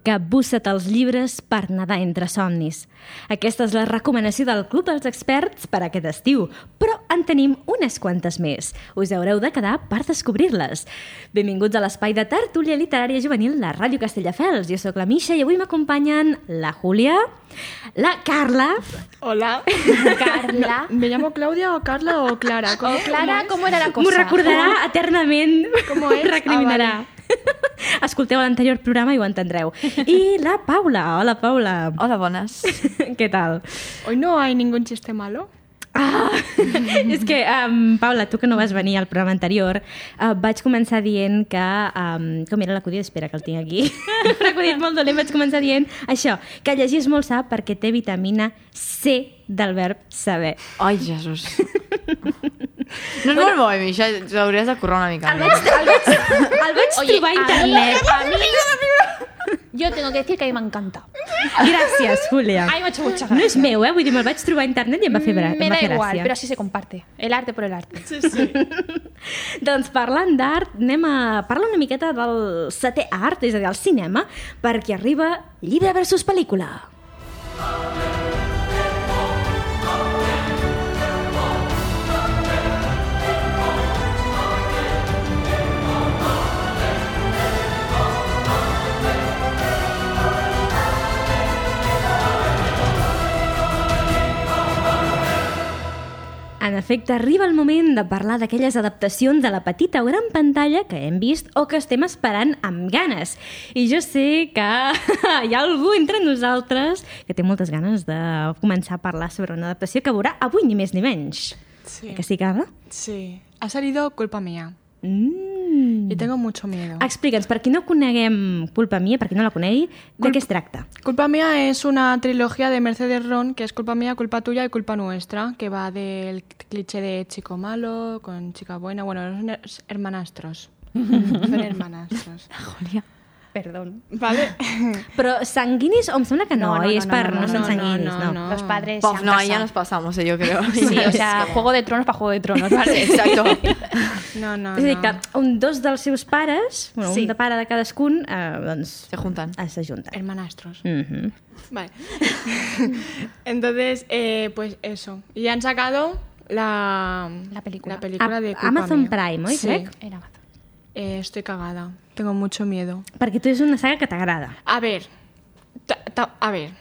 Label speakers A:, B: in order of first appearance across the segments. A: que bussa't els llibres per nedar entre somnis. Aquesta és la recomanació del Club dels Experts per aquest estiu, però en tenim unes quantes més. Us haureu de quedar per descobrir-les. Benvinguts a l'espai de Tertúlia Literària Juvenil, la Ràdio Castelldefels. Jo sóc la Misha i avui m'acompanyen la Júlia, la Carla...
B: Hola.
C: Carla.
B: ¿Me llamo Claudia o Carla o Clara? ¿Cómo-
C: O Clara,
B: cómo
C: ¿cómo era la cosa?
A: M'ho recordarà eternament.
B: Com ho
A: M'ho
B: és?
A: recriminarà.
B: Ah,
A: Escolteu l'anterior programa i ho entendreu. I la Paula. Hola, Paula.
D: Hola, bones.
A: Què tal?
B: es? Hoy no hay ningún chiste malo.
A: És que, um, Paula, tu que no vas venir al programa anterior, uh, vaig començar dient que... Um, com era l'acudit? Espera, que el tinc aquí. Un acudit molt dolent. Vaig començar dient això, que llegir és molt sa perquè té vitamina C del verb saber.
D: Ai, Jesús. No és molt bo, Misha, t'hauries de currar una mica. més.
A: El vaig
C: Oye,
A: trobar a
C: a
A: internet.
C: mí- a mí- Yo tengo que decir que a mí me encanta.
A: Gràcies, Júlia.
C: A mí me ha hecho mucha
A: No
C: gracia.
A: és meu, eh? Vull dir, me'l vaig trobar a internet i em va fer, bra... em
C: Mm, me
A: va
C: da
A: fer
C: igual,
A: gràcia.
C: pero así se comparte. El arte por el arte.
A: Doncs parlant d'art, anem a parlar una miqueta del setè art, és a dir, el cinema, perquè arriba llibre versus pel·lícula. En efecte, arriba el moment de parlar d'aquelles adaptacions de la petita o gran pantalla que hem vist o que estem esperant amb ganes. I jo sé que hi ha algú entre nosaltres que té moltes ganes de començar a parlar sobre una adaptació que veurà avui ni més ni menys.
B: Sí.
A: Eh Que sí, Carla?
B: Sí. Ha salido culpa mía.
A: Mm.
B: Y tengo mucho miedo.
A: Explica'ns, per qui no coneguem Culpa Mia, per qui no la conegui, de
B: Culp-
A: què es tracta?
B: Culpa mía es una trilogía de Mercedes Ron que es culpa mía, culpa tuya y culpa nuestra, que va del cliché de chico malo con chica buena. Bueno, son her- hermanastros. Son hermanastros.
C: Perdón.
B: ¿Vale?
A: Però sanguinis o em sembla que no,
C: No, no,
A: oi?
C: no,
A: és
C: no,
A: per
C: no,
A: no,
C: no,
A: són
B: no,
A: sanguinis,
B: no, no.
C: Los padres
D: Pof,
C: se han
D: no,
C: casado.
D: ya nos pasamos, eh, yo creo.
C: Sí, o sea, Juego de Tronos para Juego de Tronos, ¿vale?
D: Exacto.
B: No, no,
A: Ah, És a dir,
B: no.
A: que un dos dels seus pares, bueno, sí.
C: Sí.
A: un de pare de cadascun, eh, doncs
D: Se juntan.
A: eh, s'ajunten.
B: Hermanastros.
A: Mm -hmm.
B: Vale. Entonces, eh, pues eso. Y han sacado la,
C: La película.
A: A-
B: de Culpa
A: Amazon
B: Mía.
A: Prime, oi,
B: Sí.
A: crec?
C: Era Amazon.
B: Eh, estoy cagada. Tengo mucho miedo.
A: Perquè tu és una saga que t'agrada.
B: A ver. ta- ta- A ver.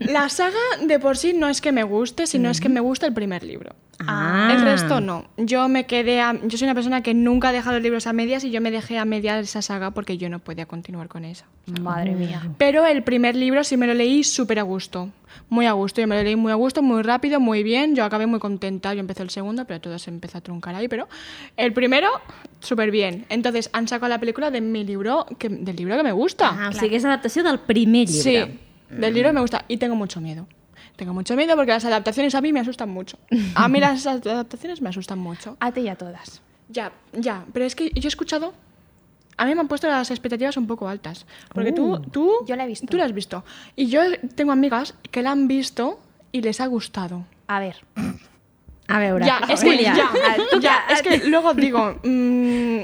B: la saga de por sí no es que me guste, sino es que me gusta el primer libro.
A: Ah.
B: El resto no. Yo me quedé a- Yo soy una persona que nunca ha dejado los libros a medias y yo me dejé a medias esa saga porque yo no podía continuar con esa.
C: Madre mía.
B: Pero el primer libro sí me lo leí súper a gusto. Muy a gusto. Yo me lo leí muy a gusto, muy rápido, muy bien. Yo acabé muy contenta. Yo empecé el segundo, pero todo se empezó a truncar ahí. Pero el primero, súper bien. Entonces han sacado la película de mi libro, que, del libro que me gusta.
A: Ah, o sigui, és adaptació del primer llibre.
B: Sí, del libro me gusta. Y tengo mucho miedo. Tengo mucho miedo porque las adaptaciones a mí me asustan mucho. A mí las adaptaciones me asustan mucho.
C: A ti y a todas.
B: Ya, ya, pero es que yo he escuchado. A mí me han puesto las expectativas un poco altas. Porque tú, tú.
C: Yo la he visto.
B: Tú la has visto. Y yo tengo amigas que la han visto y les ha gustado.
C: A ver.
A: A veure,
B: Ya, es que,
A: Júlia,
B: ya,
C: Ah,
A: eh, tu,
B: ya, es que luego digo. mm,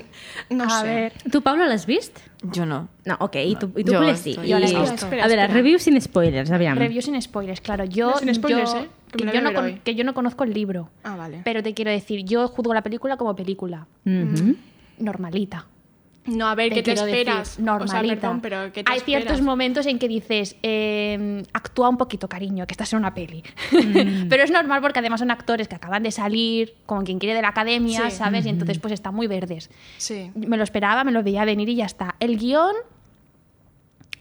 B: no
C: A
B: sé.
C: ver.
A: tu, Paula, l'has vist?
D: Yo no.
A: No, ok, i tu, i tu
D: Jo,
A: Júlia, sí.
D: jo
A: I...
C: l'he vist.
A: a
B: Espera,
A: veure,
B: espera.
A: review sin spoilers, aviam.
C: Review sin spoilers, claro. Yo,
B: No, sin spoilers,
C: yo-
B: ¿eh? Que me la voy
C: yo
B: a
C: no
B: ver
C: con-
B: hoy.
C: que yo no conozco el libro.
B: Ah, vale.
C: Pero te quiero decir, yo juzgo la película como película.
A: Mhm.
B: Mm-hmm.
C: Normalita.
B: no, a ver, ¿qué te
C: quiero decir,
B: esperas? O sea,
C: normalita.
B: perdón, pero ¿qué te
C: Hay
B: esperas?
C: ciertos momentos en que dices, eh, actúa un poquito, cariño, que estás en una peli.
B: Mm.
C: pero es normal porque además son actores que acaban de salir, como quien quiere de la academia,
B: Sí. Mm-hmm.
C: ¿sabes? Y entonces pues están muy verdes.
B: Sí.
C: Me lo esperaba, me lo veía venir y ya está. El guión,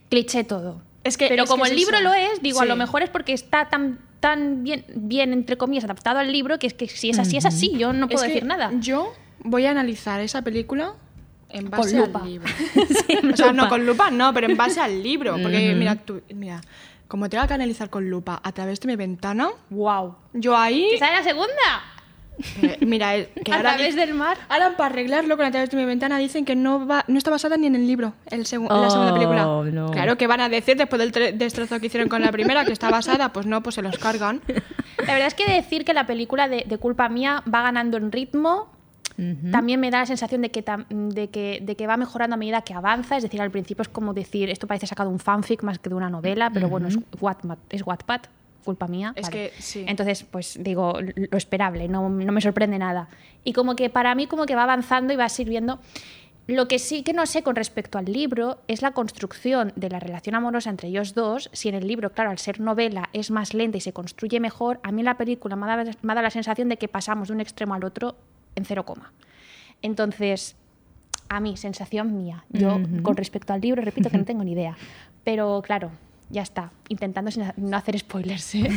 C: cliché todo.
B: Es que-
C: Pero
B: es
C: como
B: que es
C: el libro
B: eso.
C: lo es, digo, a
B: Sí.
C: lo mejor es porque está tan tan bien, bien entre comillas, adaptado al libro, que es que si es así, es así. Yo no
B: Es
C: puedo
B: que
C: decir nada.
B: Yo voy a analizar esa película en
C: Con
B: base
C: lupa.
B: al libro.
A: Sí,
B: O sea, no
A: lupa.
B: con lupa, no, pero en base al libro. Porque
C: Mm.
B: mira, tú- mira, como tengo que analizar con lupa a través de mi ventana,
C: ¡Wow!
B: yo ahí.
C: ¿Esa es la segunda?
B: Eh, mira, eh, que
C: a
B: ahora
C: través
B: di-
C: del mar.
B: Ahora, para arreglarlo con a través de mi ventana, dicen que no va, no está basada ni en el libro, el segu- la segunda
A: Oh,
B: película.
A: no.
B: Claro, que van a decir después del tre- destrozo que hicieron con la primera, que está basada, pues no, pues se los cargan.
C: La verdad es que decir que la película de, de culpa mía va ganando en ritmo, también me da la sensación de que, tam- de, que, de que va mejorando a medida que avanza. Es decir, al principio es como decir, esto parece sacado de un fanfic más que de una novela, pero bueno, es Wattpad, es Wattpad, culpa mía.
B: Es
C: vale.
B: que sí.
C: Entonces, pues digo, lo esperable, no, no me sorprende nada. Y como que para mí como que va avanzando y va sirviendo. Lo que sí que no sé con respecto al libro es la construcción de la relación amorosa entre ellos dos. Si en el libro, claro, al ser novela es más lenta y se construye mejor, a mí en la película me ha dado, me ha dado la sensación de que pasamos de un extremo al otro en cero coma. Entonces, a mí, sensación mía. Yo, con respecto al libro, repito que no tengo ni idea. Pero claro, ya está. Intentando sin ha- no hacer spoilers. ¿eh?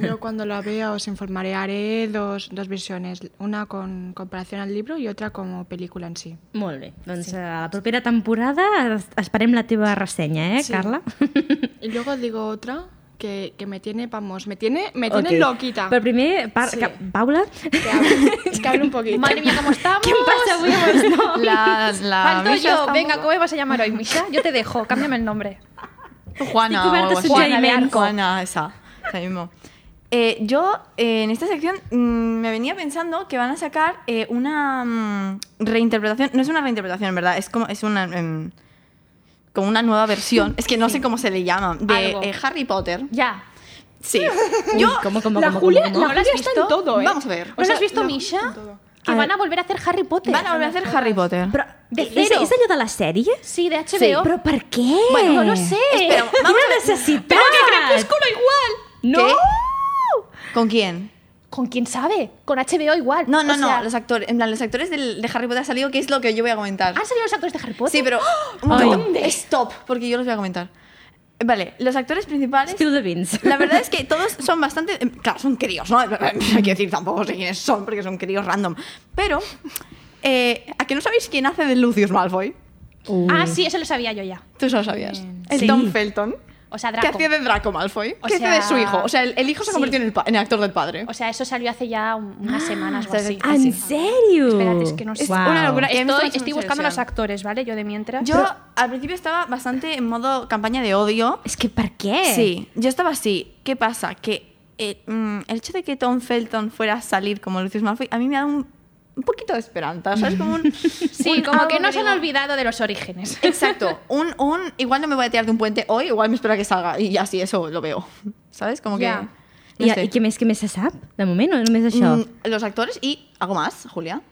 B: Yo, yo cuando la vea os informaré, haré dos, dos versiones, una con comparación al libro y otra como película en sí.
A: Molt bé. Doncs sí. a la propera temporada es- esperem la teva ressenya, eh,
B: Sí.
A: Carla?
B: Y luego digo otra que, que me tiene, vamos, me tiene, me
A: Ok.
B: tiene loquita.
A: Però primer, par...
B: Sí.
A: sí. Paula,
B: Que hable- es que hable un poquito.
C: Madre mía, ¿cómo estamos?
A: què em passa avui amb els noms?
D: La, la
C: Falto
D: Misha
C: yo.
D: está
C: Venga,
D: un
C: ¿cómo me vas a llamar hoy, Misha? Yo te dejo, cámbiame el nombre.
D: poco- Juana.
A: Estoy
D: o
A: cubierta
D: algo
A: de
D: así.
A: sugerimento.
D: Juana, esa. Esa mismo. Eh, yo, eh, en esta sección, mm, me venía pensando que van a sacar eh, una mm, reinterpretación. No es una reinterpretación, en verdad. Es como, es una, em, como una nueva versión. Es que no sé cómo se le llama. De
C: Algo.
D: eh, Harry Potter.
C: Ya.
D: Sí. Yo,
A: Com, com,
B: La
A: com,
B: Julia,
A: com, com?
B: la
C: ¿No la has
B: Julia está en
C: visto?
B: todo, ¿eh?
D: Vamos a ver.
B: O
C: ¿No
B: sea,
C: has visto,
B: la-
C: Misha?
B: todo.
C: Que
A: A
C: van
A: ver.
C: a volver a hacer Harry Potter.
D: Van a volver a hacer Harry Potter.
A: Però,
C: De
A: és,
C: cero.
A: és allò de les sèries?
C: Sí, de HBO.
A: Però per què?
C: Bueno, no lo sé.
D: Espera, vamos
A: Quina
D: a ver.
A: necessitat?
C: igual.
A: No!
D: ¿Qué? ¿Con quién?
C: ¿Con quién sabe? Con HBO igual.
D: No, no,
C: O sea,
D: no. Los actores, en plan, los actores del- de Harry Potter ha salido, que es lo que yo voy a comentar.
C: ¿Han salido los actores de Harry Potter?
D: Sí, pero. Un
A: Ay.
D: momento. Stop, porque yo los voy a comentar. Vale, los actores principales.
A: Spill the beans.
D: La verdad es que todos son bastante. em, Claro, son críos, ¿no? Hay que decir tampoco sé quiénes son, porque son críos random. Pero. eh, ¿A que no sabéis quién hace de Lucius Malfoy?
C: Ah, sí, eso lo sabía yo ya.
D: Tú eso lo sabías. El
A: Sí.
D: Tom Felton.
C: O sea,
D: Que
C: Draco.
D: hacía de Draco Malfoy.
C: O
D: que hace de
C: sea,
D: su hijo. O sea, el, el hijo
C: sí.
D: se convirtió en, el pa- en el actor del padre.
C: O sea, eso salió hace ya un-
D: Ah,
C: unas semanas o
D: sea,
C: así.
A: En sèrio?
C: Espérate, es que no sé.
D: Es una locura. Y a mí me
C: Estoy,
D: hace
C: estoy
D: mucha
C: buscando los
D: ilusión.
C: actores, ¿vale? Yo de mientras.
D: Yo al principio estaba bastante en modo campaña de odio.
A: És que per què?
D: Sí, yo estaba así. ¿Qué pasa? Que eh, mm, el hecho de que Tom Felton fuera a salir como Lucius Malfoy, a mí me da un, un poquito de esperanza, ¿sabes? Como un,
C: Sí,
D: un
C: como
D: algo
C: que no se
D: digo-
C: han olvidado de los orígenes.
D: Exacto, un, un- igual no me voy a tirar de un puente hoy, igual me espero a que salga y así eso lo veo, ¿sabes? Como que...
C: Ya.
D: no
A: I,
D: sé.
A: I què més, què més se sap? De moment, o només això?
D: Mm, los actores y algo más, Julia.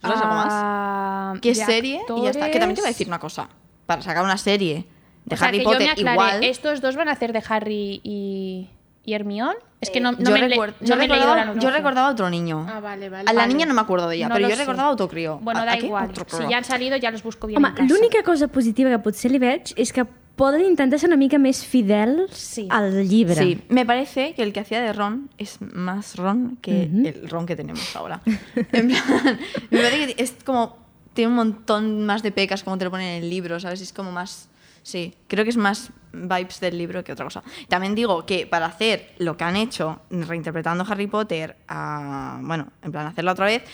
D: ¿Sabes algo más?
C: Ah,
D: ¿Qué
C: de
D: serie? Y ya está. Que también te iba a
C: actores.
D: decir una cosa. Para sacar una serie de
C: O sea,
D: Harry
C: que
D: Potter
C: yo me aclaré,
D: igual...
C: Estos dos van a hacer de Harry y, y Hermione. Es que no, no
D: Eh, yo,
C: me, he le-
D: recuer-
C: no
D: yo
C: me he leído
D: recordaba,
C: la
D: yo
C: noticia.
D: recordaba a otro niño.
B: Ah, vale, vale.
D: A la
B: Vale.
D: niña no me acuerdo de ella,
C: No
D: pero
C: lo
D: yo
C: sé.
D: recordaba autocrío.
C: Bueno,
D: ¿A-
C: da
D: a qué?
C: igual.
D: Otro
C: Si
D: programa.
C: ya han salido, ya los busco bien.
A: Home,
C: en casa.
A: l'única cosa positiva que potser li veig és que poden intentar ser una mica més fidels
C: Sí.
A: al llibre.
D: Sí, me parece que el que hacía de Ron es más Ron que el Ron que tenemos ahora. en plan, me parece que es como. Tiene un montón más de pecas como te lo ponen en el libro, ¿sabes? Es como más. Sí, creo que es más vibes del libro que otra cosa. También digo que para hacer lo que han hecho, reinterpretando Harry Potter, a, bueno, en plan hacerlo otra vez,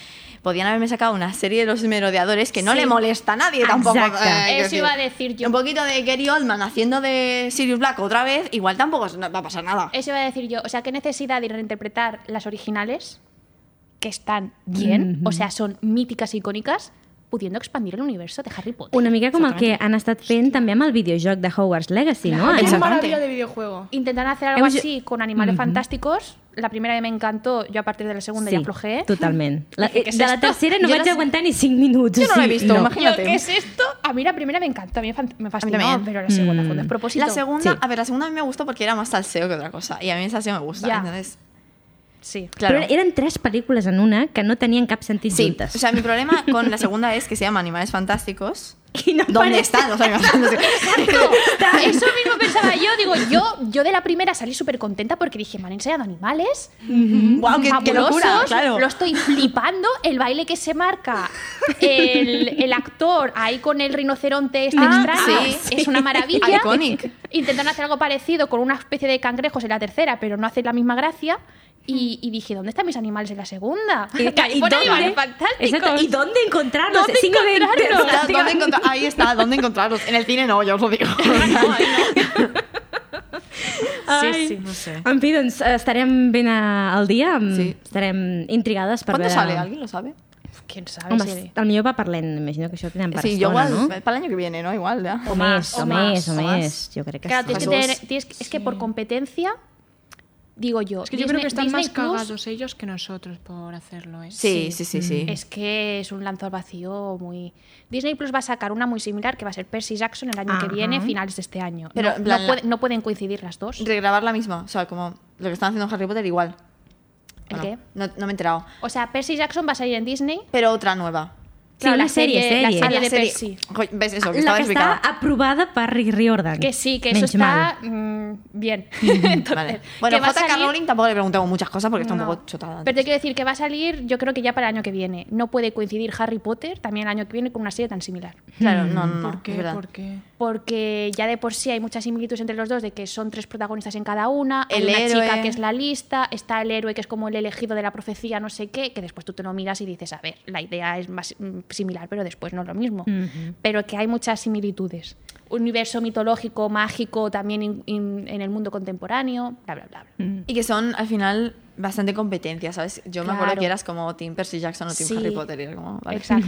D: podían haberme sacado una serie de los merodeadores que no
C: Sí.
D: le molesta a nadie tampoco.
A: Exacto.
D: quiero
C: Eso iba a decir yo.
D: Un poquito de Gary Oldman haciendo de Sirius Black otra vez, igual tampoco es- no va a pasar nada.
C: Eso iba a decir yo. O sea, qué necesidad de reinterpretar las originales, que están bien, o sea, son míticas, e icónicas, pudiendo expandir el universo de Harry Potter.
A: Una mica com el que han estat fent també amb el videojoc de Hogwarts Legacy, no?
B: Es una
D: Exactamente.
B: maravilla de videojuego.
C: Intentan hacer algo
A: Hemos-
C: así con animales fantásticos. La primera que me encantó, yo a partir de la segunda ya aflojé.
A: totalment. La, eh,
C: Dije,
A: de
C: "¿Qué es
A: la
C: esto?".
A: tercera no
D: Jo
A: vaig
D: les-
A: aguantar ni 5 minuts.
D: Jo no
A: o
D: l'he
A: sigui,
D: vist, home.
C: Yo,
D: Imagínate.
C: ¿Qué es esto? A mí la primera me encantó, a mí me fan- me fascinó,
D: también. Mm.
C: pero la segunda fue un despropósito.
D: La segunda,
A: Sí.
D: a ver, la segunda a mí me gustó porque era más salseo que otra cosa. Y a mí el salseo me gusta.
C: Ya.
D: Entonces,
C: Sí.
D: claro.
A: Però eren tres pel·lícules en una que no tenien cap sentit
D: sí.
A: juntes.
D: O sea, mi problema con la segunda es que se llama Animales Fantásticos.
A: I no
D: ¿Dónde
A: parece-
D: están los animales fantásticos?
C: Eso mismo pensaba yo, digo, yo, yo de la primera salí súper contenta porque dije, me han enseñado animales,
D: ¡Wow! Qué, qué
C: fabulosos,
D: locura! Claro.
C: lo estoy flipando, el baile que se marca el, el actor ahí con el rinoceronte este
D: Ah,
C: extraño,
D: sí.
C: es una maravilla.
D: Iconic.
C: Intentan hacer algo parecido con una especie de cangrejos en la tercera, pero no hace la misma gracia. Y, y dije, ¿dónde están mis animales en la segunda? Ahí pone animales fantásticos.
A: Exacto, ¿Y dónde encontrarlos?
C: ¿Dónde
A: Cinco de
C: encontrarlos?
A: internet.
D: Está- ¿dónde encontrar- ahí está, ¿dónde encontrarlos? En el cine no, ya os lo digo.
A: Ai.
C: Sí, sí.
D: no sé.
A: En fi, doncs estarem ben a- al dia.
D: Sí.
A: Sí. Estarem intrigades per
D: ¿Cuándo
A: veure...
D: sale? ¿Alguien lo sabe?
C: quién sabe.
A: Home,
C: si-
A: el millor va parlent, imagino que això ho tenen per
D: Sí, yo
A: estona,
D: igual,
A: no?
D: para el año que viene, ¿no? Igual, ya.
A: O, més,
C: o
A: o,
C: más,
A: més, o,
D: o
A: més,
D: más.
A: jo crec que
C: Claro,
A: sí.
C: tienes que
D: Las
C: tener- tienes que- es que por competencia, digo yo.
B: Es que yo creo que están más cagados ellos que nosotros por hacerlo, ¿eh?
D: Sí, sí, sí, sí.
C: Es que es un lanzo al vacío muy. Disney Plus va a sacar una muy similar que va a ser Percy Jackson el año que
A: Ajá.
C: viene, finales de este año.
D: Pero,
C: no,
D: en plan,
C: no
D: la-
C: puede- no pueden coincidir las dos.
D: Regrabar la misma. O sea, como lo que están haciendo en Harry Potter, igual.
C: ¿El
D: Bueno,
C: qué?
D: No, no me he enterado.
C: O sea, Percy Jackson va a salir en Disney.
D: Pero otra nueva.
A: Sí, una serie,
C: la
A: serie.
C: serie
A: Ah, la
C: de
D: serie-
C: Percy.
D: Jo, ¿Ves eso?
A: la
D: Que estaba
A: que està
D: explicada.
A: aprovada per Rick Riordan.
C: Que sí, que eso
A: Menys
C: está
A: mal.
C: mm, bien. Entonces,
D: Vale.
C: que
D: Bueno,
C: va a
D: J.K.
C: salir-
D: Rowling tampoco le preguntamos muchas cosas porque está
C: No.
D: un poco chotada.
C: Pero te quiero decir que va a salir, yo creo que ya para el año que viene. No puede coincidir Harry Potter también el año que viene con una serie tan similar.
D: Claro, no, no, no.
B: ¿Por
D: es
B: qué?
D: verdad.
B: ¿Por qué?
C: Porque ya de por sí hay muchas similitudes entre los dos, de que son tres protagonistas en cada una, hay
D: El
C: una chica
D: héroe.
C: que es la lista, está el héroe que es como el elegido de la profecía, no sé qué, que después tú te lo miras y dices, a ver, la idea es más mm, similar, pero después no es lo mismo. Pero que hay muchas similitudes. Universo mitológico, mágico, también in- in- en el mundo contemporáneo, bla, bla, bla. bla.
D: Y que son al final bastante competencias, ¿sabes? Yo me acuerdo
C: Claro.
D: que eras como Team Percy Jackson o Team
C: Sí.
D: Harry Potter. Y era como, vale.
C: Exacto.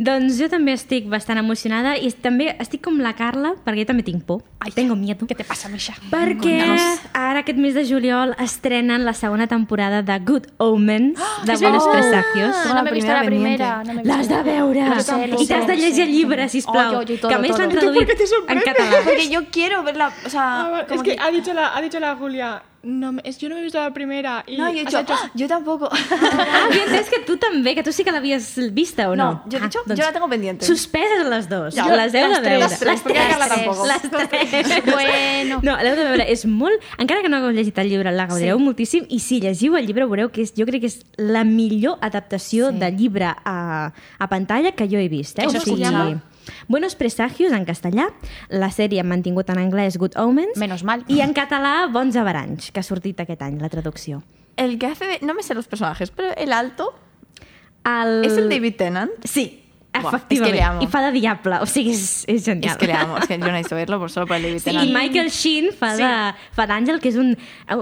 A: Doncs jo també estic bastant emocionada i també estic com la Carla, perquè jo també tinc por. Ai, tengo miedo.
C: ¿Qué te pasa, Misha?
A: Perquè
D: Contanos.
A: ara aquest mes de juliol estrenen la segona temporada de Good Omens,
D: Ah,
A: de Buenos
C: verdad.
A: Presagios.
C: Ah, no me he visto la
D: primera
C: primera. no me
D: pendiente.
C: he visto
A: L'has de
C: la-
A: veure!
C: Lo sé, lo
A: I t'has de
C: sé, lo
A: llegir
C: sé.
A: el llibre, sisplau.
C: Oh, yo- yo todo,
A: que a més l'han
C: todo.
A: traduït en català.
D: Porque yo quiero verla. O sea,
B: Ah, vale,
D: como
B: es que, ha dicho la, ha dicho la Julia, no, me- es, yo no me he visto la primera. Y
D: No, yo he
B: has
D: dicho, "Ah, yo tampoco.
A: Ah, jo he entès que tu també, que tu sí que l'havies vista o no.
D: No, jo, de
A: Ah,
D: hecho, yo la tengo pendiente.
A: Suspeses les dues.
D: Ja,
A: Jo, les heu de
D: les tres,
A: veure.
D: les tres, perquè
A: tres,
D: Carla tampoc.
A: Les tres.
C: Bueno.
A: No, l'heu de veure. És molt... Encara que no hagueu llegit el llibre, la gaudireu moltíssim. I si llegiu el llibre, veureu que és, jo crec que és la millor adaptació de llibre a, a pantalla que jo he vist. Eh?
C: Això
A: O
C: es
A: sigui,
C: llama?
A: Buenos presagios en castellà. La sèrie han mantingut en anglès Good Omens.
C: Menos mal.
A: I en català Bons Avaranys, que ha sortit aquest any, la traducció.
D: El que hace. de- No me sé los personajes, pero el alto.
A: El...
D: ¿Es el David Tennant?
A: Sí,
D: Buah,
A: efectivament.
D: és que le amo.
A: I fa de diable, o sigui, és, és genial.
D: Es que le amo, es que yo no necesito verlo por solo por el David
A: Sí,
D: Tennant.
A: I Michael Sheen fa sí. d'Àngel, que és un...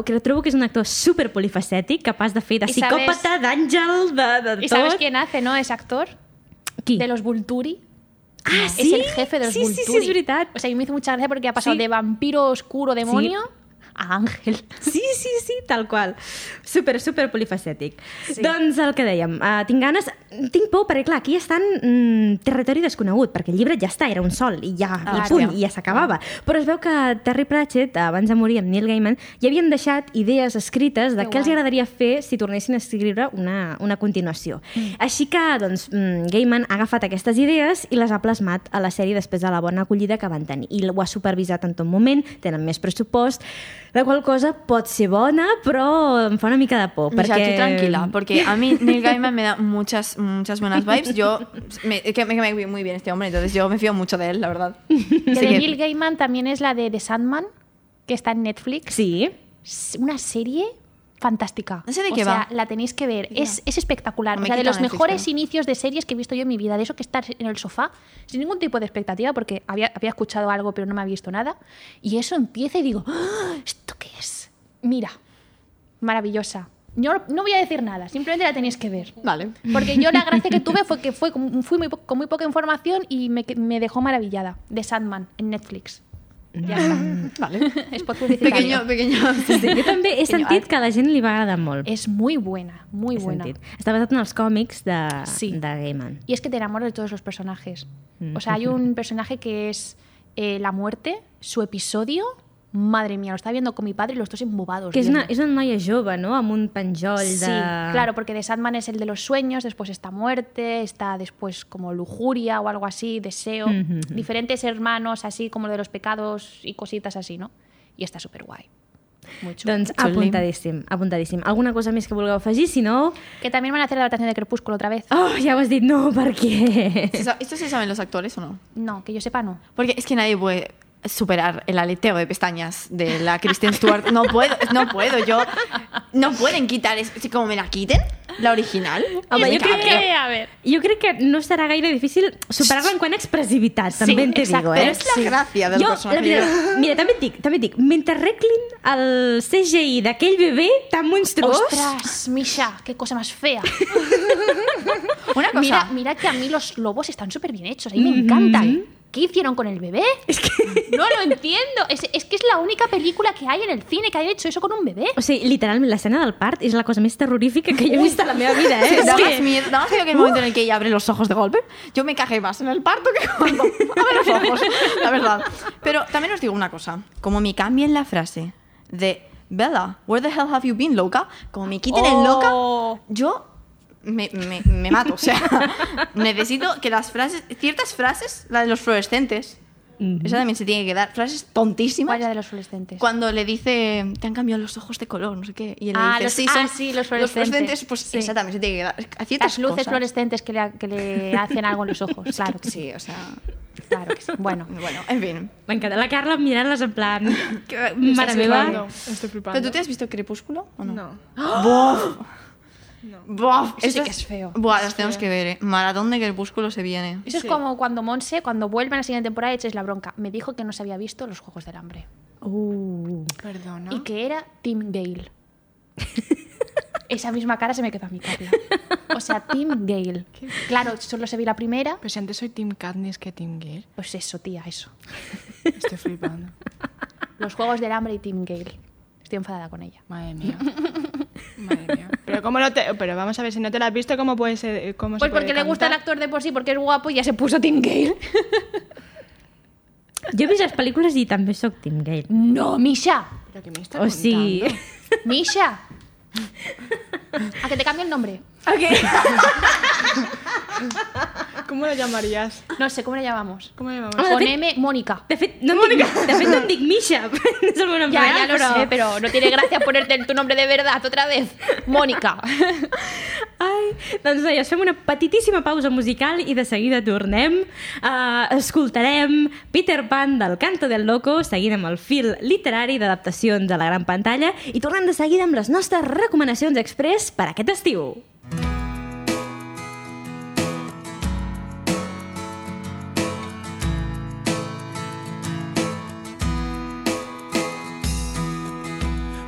A: que trobo que és un actor super polifacètic, capaç de fer de
C: I
A: psicòpata,
C: sabes-
A: d'àngel, de, de tot.
C: ¿Y sabes quién hace, no? Ese actor
A: Qui?
C: de los Vulturi.
A: Ah,
C: Es
A: sí?
C: el jefe de los
A: sí,
C: Vulturi.
A: Sí, sí, és veritat.
C: O sea, y me hizo mucha gracia porque ha pasado
A: Sí.
C: de vampiro oscuro demonio a ángel.
A: Sí, sí, sí, tal qual. Super, super polifacètic. Sí. Doncs el que dèiem, uh, tinc ganes... Tinc por, perquè clar, aquí estan mm, territori desconegut, perquè el llibre ja està, era un sol, i ja, ah, i
D: Ah,
A: punt,
D: sí.
A: i ja s'acabava. Però es veu que Terry Pratchett, eh, abans de morir amb Neil Gaiman, ja havien deixat idees escrites de
C: Que
A: què els
C: guai.
A: agradaria fer si tornessin a escriure una, una continuació. Mm. Així que, doncs, mm, Gaiman ha agafat aquestes idees i les ha plasmat a la sèrie després de la bona acollida que van tenir. I ho ha supervisat en tot moment, tenen més pressupost, la qual cosa pot ser bona, però em fa una mica de por.
D: Michelle,
A: perquè...
D: tú tranquila, porque mm, a mí Neil Gaiman me da muchas, muchas buenas vibes. Yo, me, que me cae muy bien este hombre, entonces yo me fío mucho de él, la verdad.
C: Que
D: Así
C: de
D: que-
C: Neil Gaiman también es la de The Sandman, que está en Netflix.
A: Sí.
C: Es Una serie fantástica.
D: No sé de
C: O
D: qué
C: sea,
D: va.
C: la tenéis que ver. Es, es espectacular. o
D: No me
C: sea, de
D: quita
C: los
D: Netflix,
C: mejores
D: claro.
C: inicios de series que he visto yo en mi vida. De eso que estar en el sofá sin ningún tipo de expectativa porque había, había escuchado algo pero no me había visto nada. Y eso empieza y digo, "¡Ah! ¿esto qué es? Mira, maravillosa. Yo no voy a decir nada, simplemente la tenéis que ver.
D: Vale.
C: Porque yo la gracia que tuve fue que fue, con- fui muy po- con muy poca información y me, que- me dejó maravillada. De Sandman en Netflix. Ya está.
D: Vale.
C: Spot publicitario.
D: Pequeño, pequeño.
A: sí. Jo també he
D: Pequeño
A: sentit que a la gent li va agradar molt.
C: Es muy buena, muy
A: He
C: buena.
A: sentit. Està basat en els còmics de,
C: Sí.
A: de Gaiman.
C: Y es que te enamoras de todos los personajes. O sea, hay un personaje que es eh, la muerte, su episodio. Madre mía, lo estaba viendo con mi padre y los dos embobados.
A: Que és una,
C: viendo.
A: és una noia jove, no?, amb un penjoll de...
C: Sí, claro, porque de Sandman es el de los sueños, después está muerte, está después como lujuria o algo así, deseo,
A: Ujú, ujú.
C: diferentes hermanos, así como lo de los pecados y cositas así, ¿no? Y está súper guay. Muy chulo.
A: Doncs
D: Xuli.
A: apuntadíssim, apuntadíssim. Alguna cosa més que vulgueu afegir? Si no...
C: Que también van a hacer la adaptación de Crepúsculo otra vez.
A: Oh, ja ho has dit, no, per què?
D: ¿Se sa- ¿Esto se saben los actores o no?
C: No, que yo sepa, no.
D: Porque es que nadie puede superar el aleteo de pestañas de la Kristen Stewart. No puedo, no puedo, yo. No pueden quitar, es- como me la quiten. la original.
A: Home, jo crec que...
C: a ver.
A: Jo crec que no serà gaire difícil superar-la en quant a expressivitat, sí, també te
C: exacte.
A: digo, eh?
D: Però és la gràcia del
A: jo, la
D: personatge.
A: veritat, mira, també et dic, també et dic, mentre arreglin el CGI d'aquell bebè tan monstruós...
C: Ostras, Misha, qué cosa más fea.
D: Una cosa,
C: Mira, mira que a mí los lobos están súper bien hechos, a mí me encantan. ¿Qué hicieron con el bebé?
A: És que...
C: No lo entiendo. Es, es que es la única película que hay en el cine que haya hecho eso con un bebé.
A: O sigui, literalment, l'escena del part és la cosa més terrorífica que jo he vist a la meva vida, eh?
D: Sí,
A: És
D: da más
A: que-
D: miedo. Da más miedo que el momento en el que ella abre los ojos de golpe. Yo me cajé más en el parto que cuando abre los ojos, la verdad. Pero también os digo una cosa. Como me cambien la frase de Bella, where the hell have you been, loca? Como me quiten el
B: Oh.
D: loca, yo me, me- me mato. O sea, necesito que las frases, ciertas frases, la de los fluorescentes, esa también se tiene que dar. Frases tontísimas.
C: ¿Cuál era de los fluorescentes?
D: Cuando le dice, te han cambiado los ojos de color, no sé qué. Y él
C: Ah,
D: le dice,
C: los-
D: sí,
C: ah,
D: son
C: sí, los fluorescentes.
D: pues
C: Sí.
D: esa también se tiene que dar. A
C: Las
D: ciertas
C: luces
D: cosas.
C: fluorescentes que le, que le hacen algo en los ojos. Claro que sí.
D: Sí, o sea.
C: Claro que sí. Bueno.
D: Bueno, en fin.
A: M'encanta la Carla mirant-les en plan...
D: Que-
C: mm,
A: Mare meva...
B: flipando, Estoy flipando.
D: ¿Pero tú te has visto Crepúsculo o no?
B: No.
D: ¡Bof! ¡Bof!
C: Eso sí
D: Estas-
C: que es feo.
D: Buah, las tenemos que ver, ¿eh? Maratón de Crepúsculo se viene.
C: Eso es como cuando Monse, cuando vuelve a la siguiente temporada, echéis la bronca. Me dijo que no se había visto los Juegos del Hambre.
A: Uh.
B: Perdona.
C: Y que era Tim Gale. Esa misma cara se me quedó a mi Carla. O sea, Tim Gale. Claro, solo se vi la primera.
B: Pero si antes soy Team Katniss que Team Gale.
C: Pues eso, tía, eso.
B: Estoy flipando.
C: Los Juegos del Hambre y Tim Gale. Estoy enfadada con ella.
B: Madre mía. Madre mía. Pero cómo no te... Pero vamos a ver, si no te la has visto, ¿cómo puede ser? eh, Cómo se
C: Pues porque
B: puede
C: le gusta el
B: cantar?
C: actor de por sí, porque es guapo y ya se puso Tim Gale.
A: Jo he vist les pel·lícules i també sóc Tim Gale.
C: No, Pues Misha.
B: Pero que me está
A: O sigui...
B: contando.
C: Misha. A que te cambie el nombre.
B: ¿Cómo lo llamarías?
C: No sé, ¿cómo le llamamos?
B: ¿Cómo lo llamamos?
A: Hombre,
C: Con
A: de-
C: M, Mónica.
A: De fet, no em dic, de fet, no em dic Misha, és el meu nom
C: Ya,
A: real,
C: ya lo
A: però...
C: sé, pero no tiene gracia ponerte el- tu nombre de verdad otra vez. Mónica.
A: Ai, doncs noies, fem una petitíssima pausa musical i de seguida tornem. Uh, escoltarem Peter Pan del Canto del Loco, seguint amb el fil literari d'adaptacions a la gran pantalla i tornem de seguida amb les nostres recomanacions express per aquest estiu.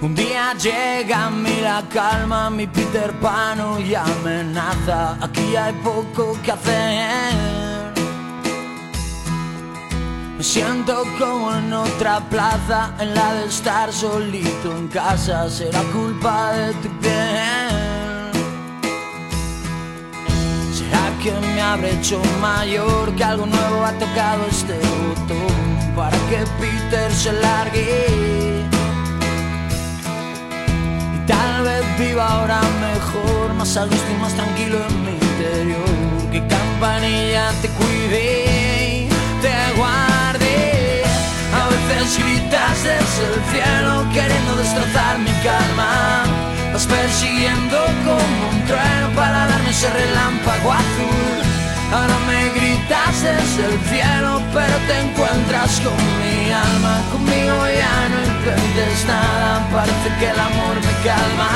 E: Un día llega a mí la calma, mi Peter Pan y amenaza. Aquí hay poco que hacer. Me siento como en otra plaza, en la de estar solito en casa. Será culpa de tu piel. ¿Será que me habré hecho mayor? Que algo nuevo ha tocado este botón para que Peter se largue. Y tal vez viva ahora mejor, más a gusto y más tranquilo en mi interior. Que campanilla te cuide, te guarde. A veces gritas desde el cielo queriendo destrozar mi calma. Vas persiguiendo como un trueno para darme ese relámpago azul. Ahora me gritas desde el cielo, pero te encuentras con mi alma. Conmigo ya no intentes nada, parece que el amor me calma,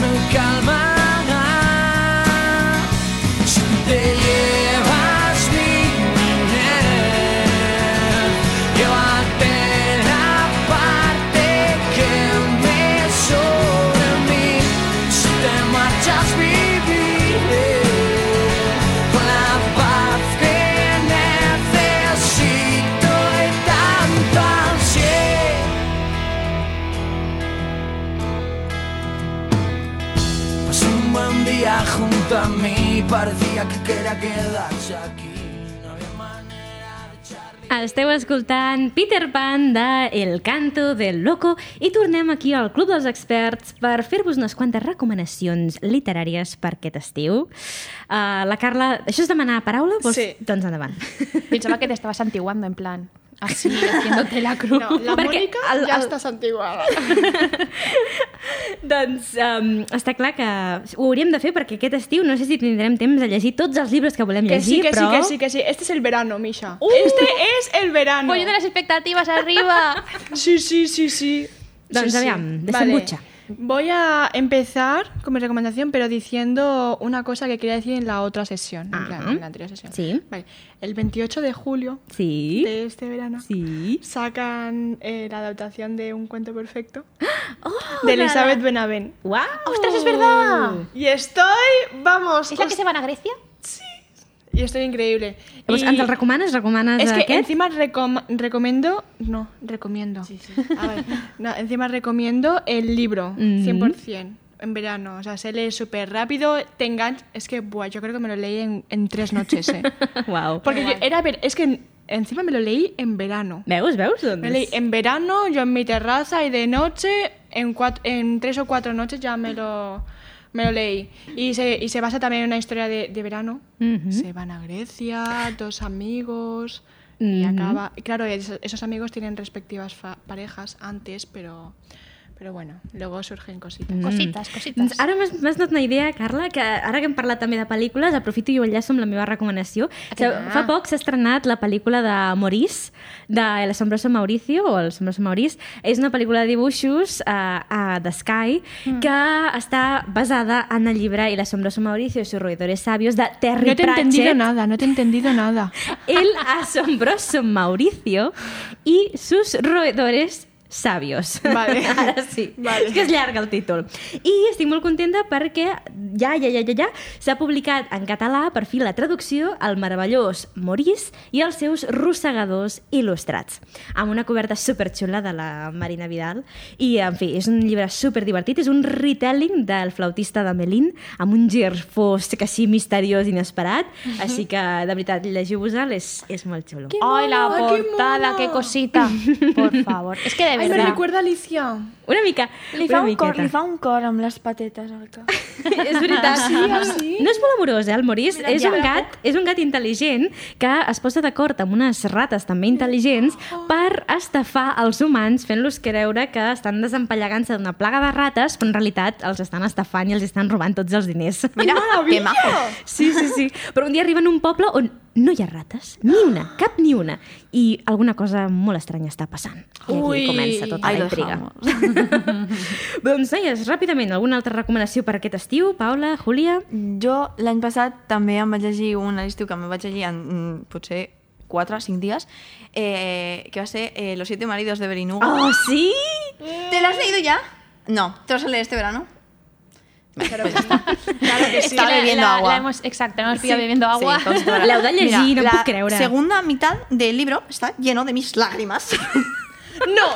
E: me calma. Si te llevas mi miel, llévate la parte que me sobra en mí. Si te marchas, viviré con la paz que necesito y tanto ansié. Pasó un buen día junto a mí, parecía que quería quedarse aquí. No había manera de echarle.
A: Esteu escoltant Peter Pan de El Canto del Loco i tornem aquí al Club dels Experts per fer-vos unes quantes recomanacions literàries per aquest estiu. Uh, la Carla, això és demanar paraula? Vols?
B: Sí.
A: Doncs endavant.
C: Pensaba que te estabas antiguando en plan, así, haciéndote la cruz.
B: No, la
A: Porque
B: Mónica
A: al-
B: ya
A: al-
B: estás antiguada.
A: Doncs um, està clar que ho hauríem de fer perquè aquest estiu no sé si tindrem temps de llegir tots els llibres que volem
B: Que
A: llegir,
B: sí, que sí,
A: però...
B: que sí, que sí. Este es el verano, Misha. Este es el verano.
C: Poniendo las expectativas arriba.
B: Sí, sí, sí, sí.
A: Doncs
B: sí, sí.
A: aviam, desembucha.
B: Voy a empezar con mi recomendación, pero diciendo una cosa que quería decir en la otra sesión, en,
A: Ah.
B: plan, en la anterior sesión.
A: Sí.
B: Vale. El 28 de julio
A: Sí.
B: de este verano
A: Sí.
B: sacan eh, la adaptación de Un cuento perfecto
A: Oh,
B: de Elizabeth Benavent.
A: ¡Wow!
C: ¡Ostras, es verdad!
B: Y estoy, vamos,
C: ¿Es la que
B: os-
C: se van a Grecia?
B: y estoy increíble.
A: Llavors,
B: I-
A: ens el recomanes? Recomanes
B: Es que
A: aquest?
B: encima recom- recomendo, no, recomiendo. A ver, no, encima recomiendo el libro,
A: Mhm.
B: 100%, en verano. O sea, se lee súper rápido, te engancha. Es que, buah, yo creo que me lo leí en, en tres noches, eh.
A: Wow.
B: Porque yo- era, ver- es que en- encima me lo leí en verano.
A: Veus, veus? Doncs...
B: Me lo leí en verano, yo en mi terraza y de noche, en, cuat- en tres o cuatro noches ya me lo, me lo leí. Y se, y se basa también en una historia de, de verano.
A: Mhm.
B: Se van a Grecia, dos amigos. Y
A: Ujú.
B: acaba. y Claro, es- esos amigos tienen respectivas fa- parejas antes, pero, pero bueno, luego surgen cositas.
A: Doncs
C: Cositas, cositas.
A: ara m'has m'has donat una idea, Carla, que ara que hem parlat també de pel·lícules, aprofito i ho enllaço amb la meva recomanació.
B: Ah,
A: Se, fa poc s'ha estrenat la pel·lícula de Maurice, de El asombroso Mauricio, o El asombroso Maurice. És una pel·lícula de dibuixos uh, uh, de Sky, mm. que està basada en el llibre El asombroso Mauricio y sus roedores sabios, de Terry
B: No te he
A: Pratchett.
B: entendido nada, no te he entendido nada.
A: El asombroso Mauricio y sus roedores sabios.
B: Vale.
A: Ara sí.
B: Vale.
A: És que és llarg el títol. I estic molt contenta perquè ja, ja, ja, ja, ja, s'ha publicat en català per fi la traducció al meravellós Morís i els seus rossegadors il·lustrats. Amb una coberta superxula de la Marina Vidal. I, en fi, és un llibre superdivertit. És un retelling del flautista de Melín amb un gir fosc així misteriós i inesperat.
D: Mhm.
A: Així que, de veritat, llegiu-vos-el. És, és molt xulo.
C: ¡Ay, la
B: mono, qué
C: portada!
B: mono!
C: ¡Qué cosita! Por favor. Es que de
B: Ay, me
C: verdad.
B: recuerda a Alicia.
A: Una mica.
D: Li
A: una
D: fa, un cor,
A: miqueta.
D: li fa un cor amb les patetes al cap.
A: és veritat. Sí,
B: sí.
A: No és molt amorós, eh, el Morís.
D: Mira,
A: és,
D: ja.
A: un gat, és un gat intel·ligent que es posa d'acord amb unes rates també intel·ligents per estafar els humans fent-los creure que estan desempallegant-se d'una plaga de rates, però en realitat els estan estafant i els estan robant tots els diners.
D: Mira, que majo.
A: Sí, sí, sí. Però un dia arriben a un poble on no hi ha rates, ni una, cap ni una. I alguna cosa molt estranya està passant. I aquí
B: Ui.
A: comença tota
D: Ahí
A: la
D: lo
A: intriga.
D: dejamos.
A: doncs, noies, ràpidament, alguna altra recomanació per aquest estiu? Paula, Júlia?
D: Jo l'any passat també em vaig llegir un a l'estiu que em vaig llegir en mm, potser 4 o 5 dies, eh, que va ser eh, Los siete maridos de Berinugo.
A: Oh, sí?
D: ¿Te lo has leído ya? No, ¿te vas a leer este verano?
C: pues Es que
D: Estaba
C: la-
D: bebiendo
C: la-
D: agua.
C: la hemos- exacto, hemos pillado bebiendo agua.
D: Sí, consultora.
A: L'heu de llegir,
D: Mira,
A: no
D: la
A: puc creure.
D: segunda mitad del libro está lleno de mis lágrimas.
B: No,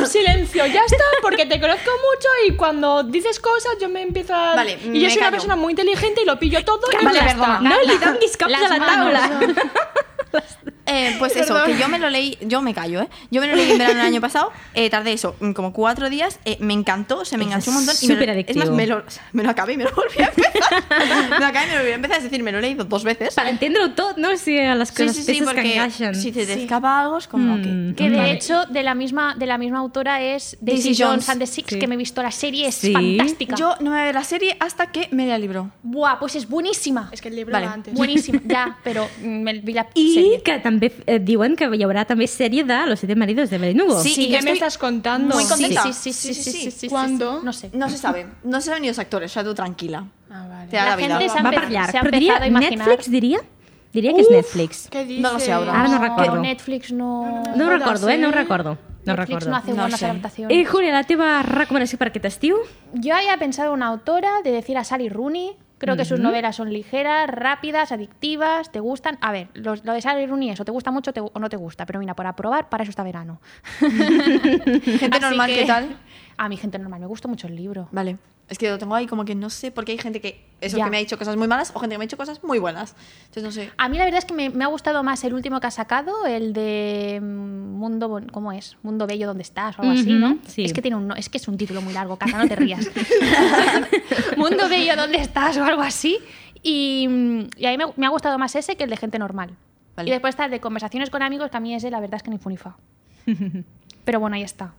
B: no, silencio, ya está, porque te conozco mucho y cuando dices cosas yo me empiezo a...
D: Vale,
B: y yo
D: me
B: soy una
D: callo.
B: persona muy inteligente y lo pillo todo y
D: Vale,
B: ya
D: perdona.
B: está.
A: No li donguis cops
C: Las
A: a la
C: manos.
A: taula.
D: Eh, pues eso, que yo me lo leí, yo me callo, ¿eh? Yo me lo leí en verano el año pasado, eh, tardé eso, mm, como cuatro días, eh, me encantó, se me
A: Es
D: enganchó un montón. y me lo-
A: superadictivo.
D: Es más, me lo, me lo acabé y me lo volví a empezar. me lo acabé y me lo volví a empezar, es decir, me lo he leído dos veces.
A: Per entendre-ho tot, no? Si a les,
D: Sí,
A: les
D: sí, sí,
A: peces que
D: porque
A: encaixen.
D: si te, te escapa algo es como
A: Mm.
D: que...
C: Que de
A: Vale.
C: hecho, de la misma, de la misma autora es Daisy,
D: Daisy
C: Jones
D: Jones.
C: and the Six,
A: Sí.
C: que me he visto la serie, es
A: Sí.
C: fantástica.
D: Yo no me veo la serie hasta que me lea el libro.
C: Buah, pues es buenísima.
B: Es que el libro
D: Vale.
B: va antes.
C: Buenísima, ya, pero mm, me vi la
A: I
C: serie.
A: que també eh, diuen que hi haurà també sèrie de Los siete maridos de Berenugo.
D: Sí,
B: ¿Y qué
D: y yo
B: me
D: estoy
B: estás contando?
D: muy
C: Sí,
D: contenta.
C: sí, sí, sí, sí, sí, sí.
B: ¿Cuándo?
C: No sé.
D: No se sabe, no se saben ni los actores, o sea, tú tranquila.
B: Ah, vale.
D: Te da la,
C: La
D: vida.
C: gente se
A: Va per
C: empe-
A: llarg.
C: s'ha
A: Però diria,
C: empezado a imaginar.
A: Netflix, diria? Diria que és Netflix.
B: ¿Qué dices?
D: No lo sé ahora.
A: Ara no
C: No,
A: recordo.
C: Netflix no...
A: No ho
B: Hola,
A: recordo, eh?
B: sí.
A: No ho recordo. No ho
C: Netflix
A: recordo.
C: no hace
D: No
C: buenas
D: sé.
C: adaptaciones.
A: Eh, Júlia, la teva recomanació per aquest estiu?
C: Yo había pensado una autora de decir a Sally Rooney. Creo que sus novelas son ligeras, rápidas, adictivas, te gustan. A ver, los- lo de Sally Rooney es o te gusta mucho te- o no te gusta. Pero mira, para probar, para eso está verano.
D: Gente normal, ¿qué tal?
C: A mi gente normal, me gusta mucho el libro.
D: Vale. Es que lo tengo ahí como que no sé, porque hay gente que eso
C: Ya.
D: que me ha dicho cosas muy malas o gente que me ha dicho cosas muy buenas. Entonces no sé.
C: A mí la verdad es que me, me ha gustado más el último que ha sacado, el de mm, Mundo Bon- ¿cómo es? Mundo Bello donde estás o algo así,
A: Ujú,
C: ¿no?
A: sí.
C: Es que tiene un no- es que es un título muy largo, Casa, no te rías. Mundo Bello donde estás o algo así. Y, mm, y a mí me, me ha gustado más ese que el de gente normal.
D: Vale.
C: Y después está el de conversaciones con amigos, que a mí ese la verdad es que ni funifa. Pero bueno, ahí está.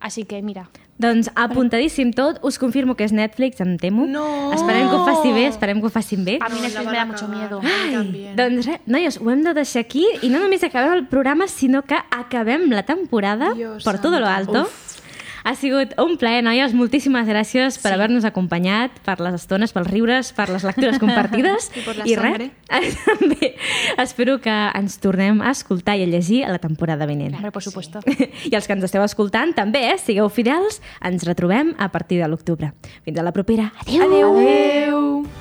C: Así que mira.
A: Doncs apuntadíssim tot. Us confirmo que és Netflix, em temo.
B: No.
A: Esperem que ho faci bé, esperem que ho facin bé.
C: A mí
B: No, la
C: Netflix
B: van
C: me da
B: a
C: mucho
B: acabar.
C: miedo.
B: Ai,
A: Ai, doncs res, noies, ho hem de deixar aquí i no només acabem el programa, sinó que acabem la temporada
B: Dios
A: per todo lo
B: santo.
A: alto. Ha sigut un plaer, noies. Moltíssimes gràcies per haver-nos acompanyat, per les estones, pels riures, per les lectures compartides.
B: I per la
A: res,
B: sangre.
A: també espero que ens tornem a escoltar i a llegir a la temporada vinent.
C: Hombre, por supuesto.
A: I els que ens esteu escoltant, també, eh? sigueu fidels. Ens retrobem a partir de l'octubre. Fins a la propera. Adéu! Adéu!
B: Adeu.